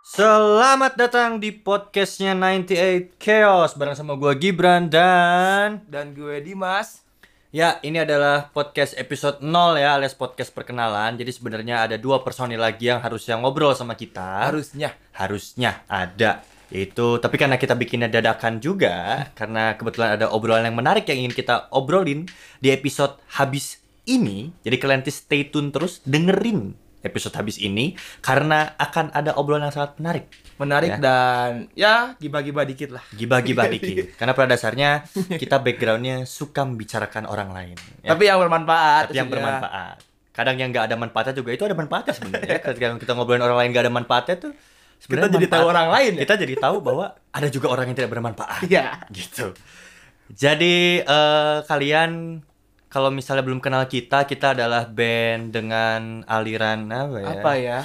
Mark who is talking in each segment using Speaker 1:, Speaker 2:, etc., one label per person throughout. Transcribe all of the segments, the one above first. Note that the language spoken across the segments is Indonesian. Speaker 1: Selamat datang di podcastnya 98 Chaos bareng sama gua Gibran dan
Speaker 2: dan gue Dimas.
Speaker 1: ya ini adalah podcast episode 0 ya alias podcast perkenalan. Jadi sebenarnya ada dua personil lagi yang harusnya ngobrol sama kita.
Speaker 2: Harusnya
Speaker 1: harusnya ada itu tapi karena kita bikinnya dadakan juga karena kebetulan ada obrolan yang menarik yang ingin kita obrolin di episode habis ini jadi kalian tis- stay tune terus dengerin episode habis ini karena akan ada obrolan yang sangat menarik
Speaker 2: menarik
Speaker 1: Ya.
Speaker 2: dan ya gibah-gibah dikit lah.
Speaker 1: gibah-gibah
Speaker 2: Iya,
Speaker 1: dikit karena pada dasarnya kita backgroundnya suka membicarakan orang lain ya.
Speaker 2: Tapi iya. yang bermanfaat. ya.
Speaker 1: Tapi yang
Speaker 2: maksudnya.
Speaker 1: bermanfaat kadang yang nggak ada manfaatnya juga itu ada manfaatnya sebenarnya ketika kita ngobrolin orang lain nggak ada manfaatnya tuh
Speaker 2: Kita
Speaker 1: sebenarnya
Speaker 2: jadi tahu
Speaker 1: manfaat-
Speaker 2: orang lain ya.
Speaker 1: kita jadi tahu bahwa ada juga orang yang tidak bermanfaat
Speaker 2: Iya.
Speaker 1: gitu jadi eh, kalian kalau misalnya belum kenal kita kita adalah band dengan aliran apa ya
Speaker 2: Apa ya?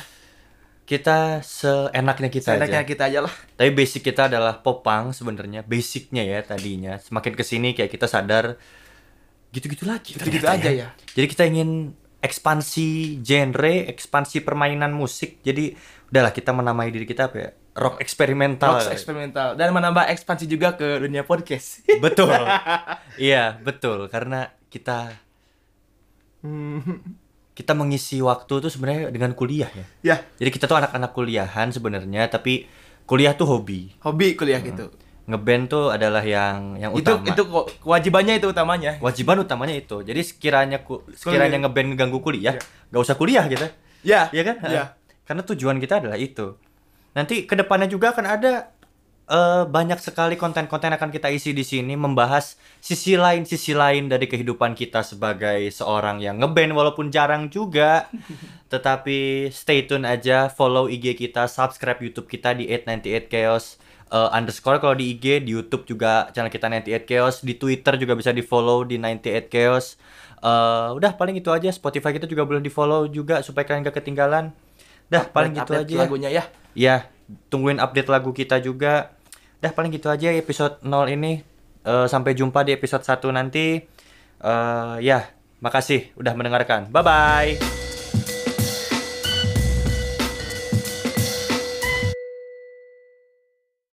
Speaker 1: kita seenaknya kita aja
Speaker 2: Seenaknya kita aja lah.
Speaker 1: tapi basic kita adalah popang sebenarnya basicnya ya tadinya semakin kesini kayak kita sadar gitu-gitu lagi
Speaker 2: Gitu-gitu
Speaker 1: ternyata
Speaker 2: aja ya.
Speaker 1: jadi kita ingin ekspansi genre, ekspansi permainan musik. Jadi udahlah kita menamai diri kita apa ya? Rock eksperimental.
Speaker 2: Rocks eksperimental dan menambah ekspansi juga ke dunia podcast.
Speaker 1: betul. iya, betul. Karena kita kita mengisi waktu tuh sebenarnya dengan kuliah ya.
Speaker 2: ya,
Speaker 1: Jadi kita tuh anak-anak kuliahan sebenarnya, tapi kuliah tuh hobi.
Speaker 2: hobi kuliah gitu.
Speaker 1: Ngeband tuh adalah yang yang
Speaker 2: Itu
Speaker 1: Hmm. utama.
Speaker 2: itu ko- kewajibannya itu utamanya.
Speaker 1: Kewajiban utamanya itu. Jadi sekiranya ku, sekiranya
Speaker 2: Iya. Kuliah.
Speaker 1: ngeband ngeganggu kuliah,
Speaker 2: Iya.
Speaker 1: nggak usah kuliah kita.
Speaker 2: Ya,
Speaker 1: Iya kan?
Speaker 2: Ya.
Speaker 1: Karena tujuan kita adalah itu. Nanti kedepannya juga akan ada eh, banyak sekali konten-konten akan kita isi di sini membahas sisi lain sisi lain dari kehidupan kita sebagai seorang yang ngeband walaupun jarang juga. Tetapi stay tune aja, follow IG kita, subscribe YouTube kita di 898 Chaos eh, underscore kalau di IG, di YouTube juga channel kita 98 Chaos, di Twitter juga bisa di follow di 98 Chaos. Eh, udah paling itu aja Spotify kita juga boleh di follow juga supaya kalian gak ketinggalan. Dah paling gitu
Speaker 2: Update
Speaker 1: aja.
Speaker 2: Lagunya ya.
Speaker 1: Ya, tungguin update lagu kita juga. Dah paling gitu aja episode 0 ini. Eh, sampai jumpa di episode 1 nanti. Eh, ya, makasih udah mendengarkan. Bye bye.